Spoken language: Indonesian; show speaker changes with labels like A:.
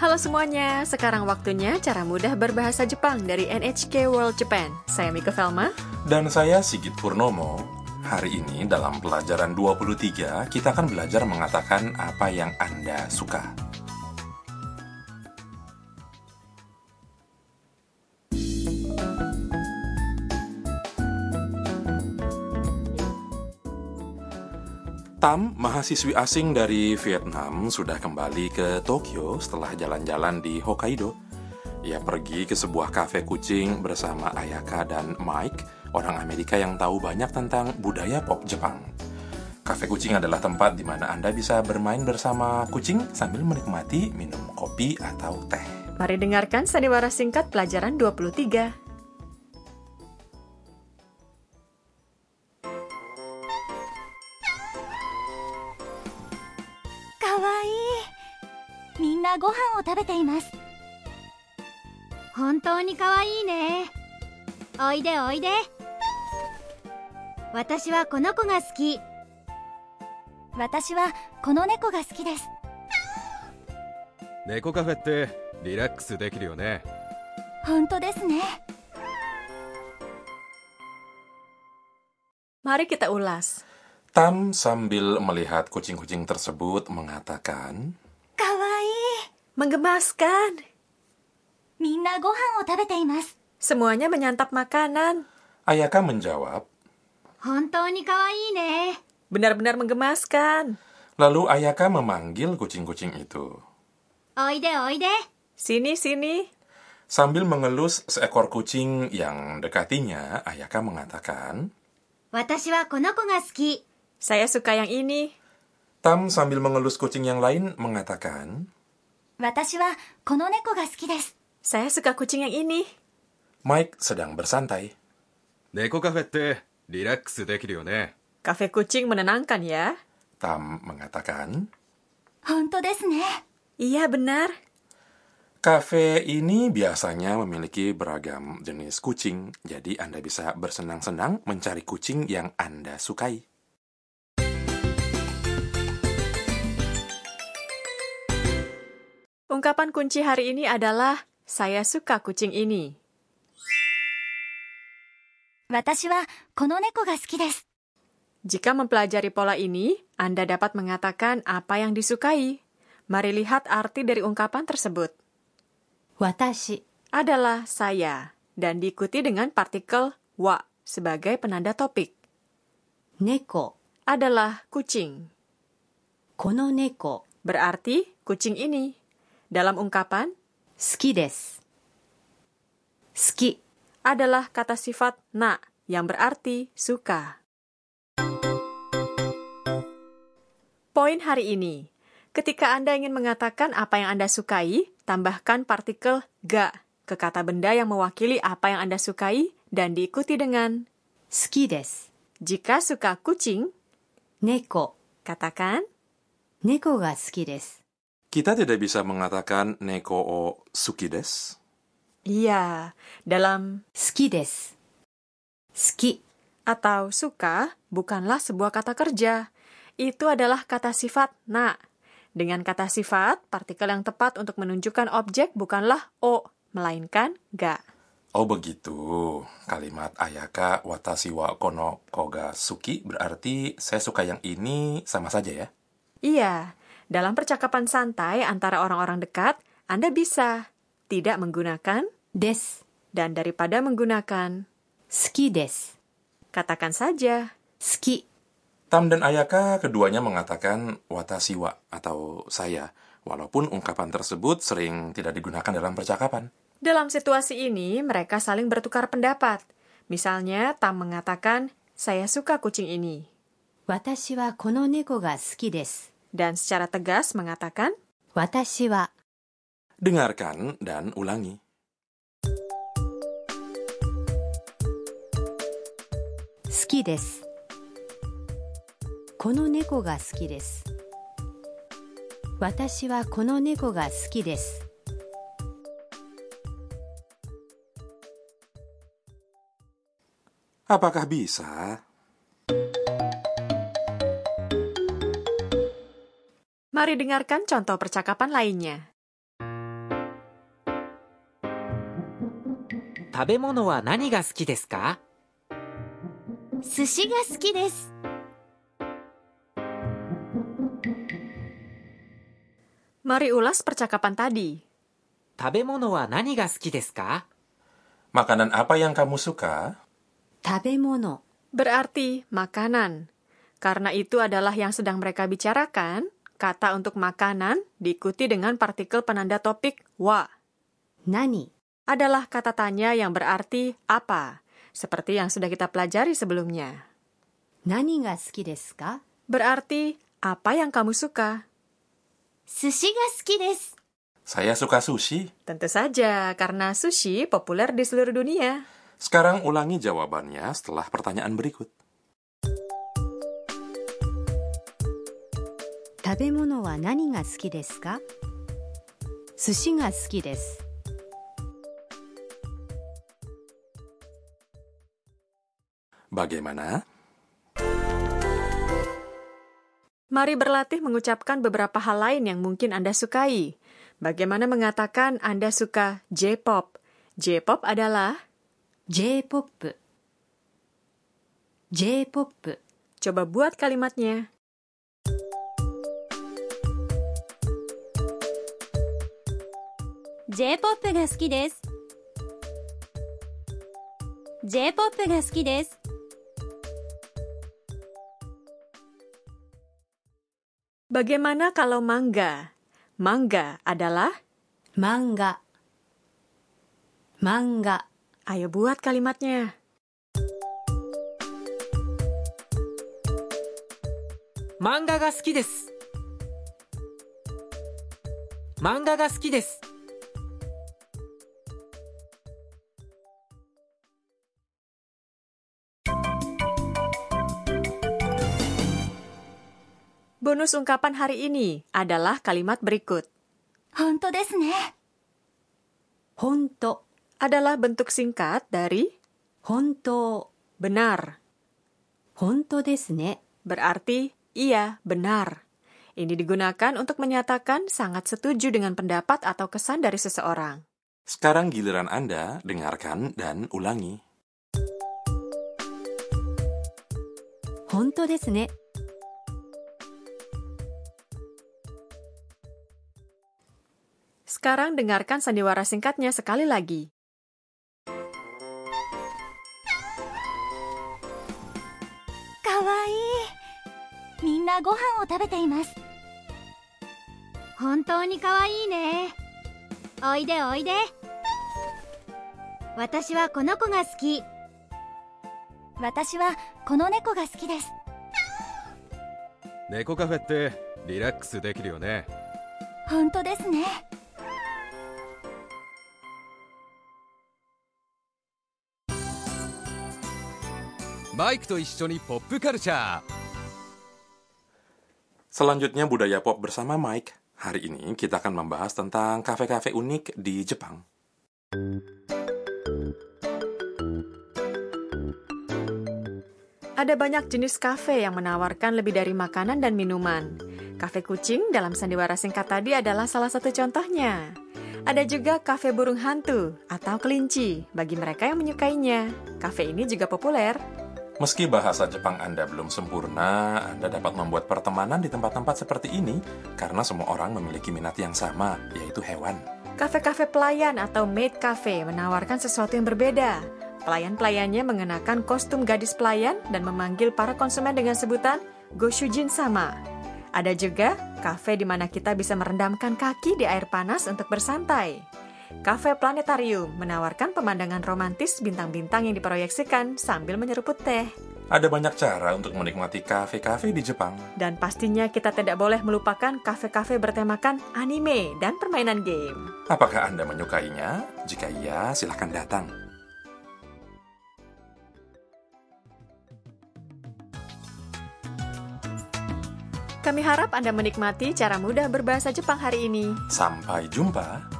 A: Halo semuanya, sekarang waktunya cara mudah berbahasa Jepang dari NHK World Japan. Saya Miko Velma.
B: Dan saya Sigit Purnomo. Hari ini dalam pelajaran 23, kita akan belajar mengatakan apa yang Anda suka. Tam, mahasiswi asing dari Vietnam, sudah kembali ke Tokyo setelah jalan-jalan di Hokkaido. Ia pergi ke sebuah kafe kucing bersama Ayaka dan Mike, orang Amerika yang tahu banyak tentang budaya pop Jepang. Kafe kucing adalah tempat di mana Anda bisa bermain bersama kucing sambil menikmati minum kopi atau teh.
A: Mari dengarkan sandiwara singkat pelajaran 23.
C: かわいいみんなご飯を食べています本当にかわいいねおいでおいで私はこの子が好き私はこの猫が好きです
D: 猫カフェってリラックスできるよね
C: 本当ですね
A: Mari kita ulas.
B: Tam sambil melihat kucing-kucing tersebut mengatakan,
C: かわい
A: Menggemaskan.
C: いみんなご飯を食べています
A: Semuanya menyantap makanan.
B: Ayaka menjawab,
C: 本当にかわいいね
A: Benar-benar menggemaskan.
B: lalu Ayaka memanggil kucing-kucing itu.
C: おいでおいで
A: Sini, sini.
B: Sambil mengelus seekor kucing yang dekatinya, Ayaka mengatakan,
C: 私はこの子が好き
A: Saya suka yang ini.
B: Tam sambil mengelus kucing yang lain mengatakan,
C: 私はこの猫が好きです
A: Saya suka kucing yang ini.
B: Mike sedang bersantai.
D: 猫カフェってリラックスできるよね
A: Kafe kucing menenangkan ya.
B: Tam mengatakan,
C: 本当ですね
A: Iya, benar.
B: kafe ini biasanya memiliki beragam jenis kucing, jadi Anda bisa bersenang-senang mencari kucing yang Anda sukai.
A: Ungkapan kunci hari ini adalah saya suka kucing ini.
C: 私はこの猫が好きです
A: Jika mempelajari pola ini, Anda dapat mengatakan apa yang disukai. Mari lihat arti dari ungkapan tersebut.
E: 私
A: Adalah saya dan diikuti dengan partikel wa sebagai penanda topik.
E: 猫
A: Adalah kucing.
E: この猫
A: Berarti kucing ini. Dalam ungkapan
E: 好きです好き
A: adalah kata sifat na yang berarti suka. Poin hari ini. Ketika Anda ingin mengatakan apa yang Anda sukai, tambahkan partikel ga ke kata benda yang mewakili apa yang Anda sukai dan diikuti dengan
E: 好きです
A: jika suka kucing,
E: 猫
A: katakan
E: 猫が好きです
B: Kita tidak bisa mengatakan neko o sukides.
A: iya. Dalam
E: 好きです好き
A: atau suka bukanlah sebuah kata kerja. Itu adalah kata sifat na. Dengan kata sifat, partikel yang tepat untuk menunjukkan objek bukanlah o, melainkan ga.
B: Oh begitu, kalimat Ayaka watashi wa kono koga suki berarti saya suka yang ini sama saja ya.
A: Iya, dalam percakapan santai antara orang-orang dekat, Anda bisa tidak menggunakan
E: です
A: dan daripada menggunakan,
E: 好きです
A: katakan saja
E: 好き
B: Tam dan Ayaka keduanya mengatakan watashi wa atau saya, walaupun ungkapan tersebut sering tidak digunakan dalam percakapan.
A: Dalam situasi ini, mereka saling bertukar pendapat. Misalnya, Tam mengatakan, "Saya suka kucing ini."
E: 私はこの猫が好きです
A: dan secara tegas mengatakan,
E: 私は
B: Dengarkan dan ulangi.
E: 「好きです」「この猫が好きです」「私はこの猫が好きです」
B: Apakah bisa?
A: "Mari dengarkan contoh percakapan lainnya."
F: 食べ物は何が好きですか
C: 寿司が好きです
A: Mari ulas percakapan tadi.
F: 食べ物は何が好きですか
B: Makanan apa yang kamu suka?
E: 食べ物
A: Berarti makanan. Karena itu adalah yang sedang mereka bicarakan, kata untuk makanan diikuti dengan partikel penanda topik wa.
E: 何
A: Adalah kata tanya yang berarti apa, seperti yang sudah kita pelajari sebelumnya.
E: 何が好きですか
A: Berarti apa yang kamu suka?
C: 寿司が好きです
B: Saya suka sushi.
A: Tentu saja, karena sushi populer di seluruh dunia.
B: Sekarang ulangi jawabannya setelah pertanyaan berikut.
E: 食べ物は何が好きですか寿司が好きです
B: Bagaimana?
A: Mari berlatih mengucapkan beberapa hal lain yang mungkin Anda sukai. Bagaimana mengatakan Anda suka J-pop? J-pop adalah
E: j p o p j p o p
A: coba buat kalimatnya.
C: ジェ p o p が好きです j p o p が好きです
A: Bagaimana kalau mangga? Mangga adalah
E: 漫画漫画
A: ayo buat kalimatnya.
F: 漫画が好きです漫画が好きです
A: Bonus ungkapan hari ini adalah kalimat berikut.
C: 本当ですね
E: 本当
A: Adalah bentuk singkat dari
E: 本当
A: benar.
E: 本当ですね
A: Berarti iya, benar. Ini digunakan untuk menyatakan sangat setuju dengan pendapat atau kesan dari seseorang.
B: Sekarang giliran Anda, dengarkan dan ulangi.
E: 本当ですね
A: Sekarang dengarkan sandiwara singkatnya sekali lagi.
C: かわいいみんなご飯を食べています本当にかわいいねおいでおいで私はこの子が好き私はこの猫が好きです
D: 猫カフェってリラックスできるよね
C: 本当ですね
D: マイクと一緒にポップカルチャー
B: Selanjutnya budaya pop bersama Mike. Hari ini kita akan membahas tentang kafe-kafe unik di Jepang.
A: Ada banyak jenis kafe yang menawarkan lebih dari makanan dan minuman. Kafe kucing dalam sandiwara singkat tadi adalah salah satu contohnya. Ada juga kafe burung hantu atau kelinci bagi mereka yang menyukainya. Kafe ini juga populer.
B: Meski bahasa Jepang Anda belum sempurna, Anda dapat membuat pertemanan di tempat-tempat seperti ini karena semua orang memiliki minat yang sama, yaitu hewan.
A: Kafe-kafe pelayan atau maid cafe menawarkan sesuatu yang berbeda. Pelayan-pelayannya mengenakan kostum gadis pelayan dan memanggil para konsumen dengan sebutan Goshujin sama. Ada juga kafe di mana kita bisa merendamkan kaki di air panas untuk bersantai. Kafe Planetarium menawarkan pemandangan romantis bintang-bintang yang diproyeksikan sambil menyeruput teh.
B: Ada banyak cara untuk menikmati kafe-kafe di Jepang.
A: Dan pastinya kita tidak boleh melupakan kafe-kafe bertemakan anime dan permainan game.
B: Apakah Anda menyukainya? Jika iya, silahkan datang.
A: Kami harap Anda menikmati cara mudah berbahasa Jepang hari ini.
B: Sampai jumpa!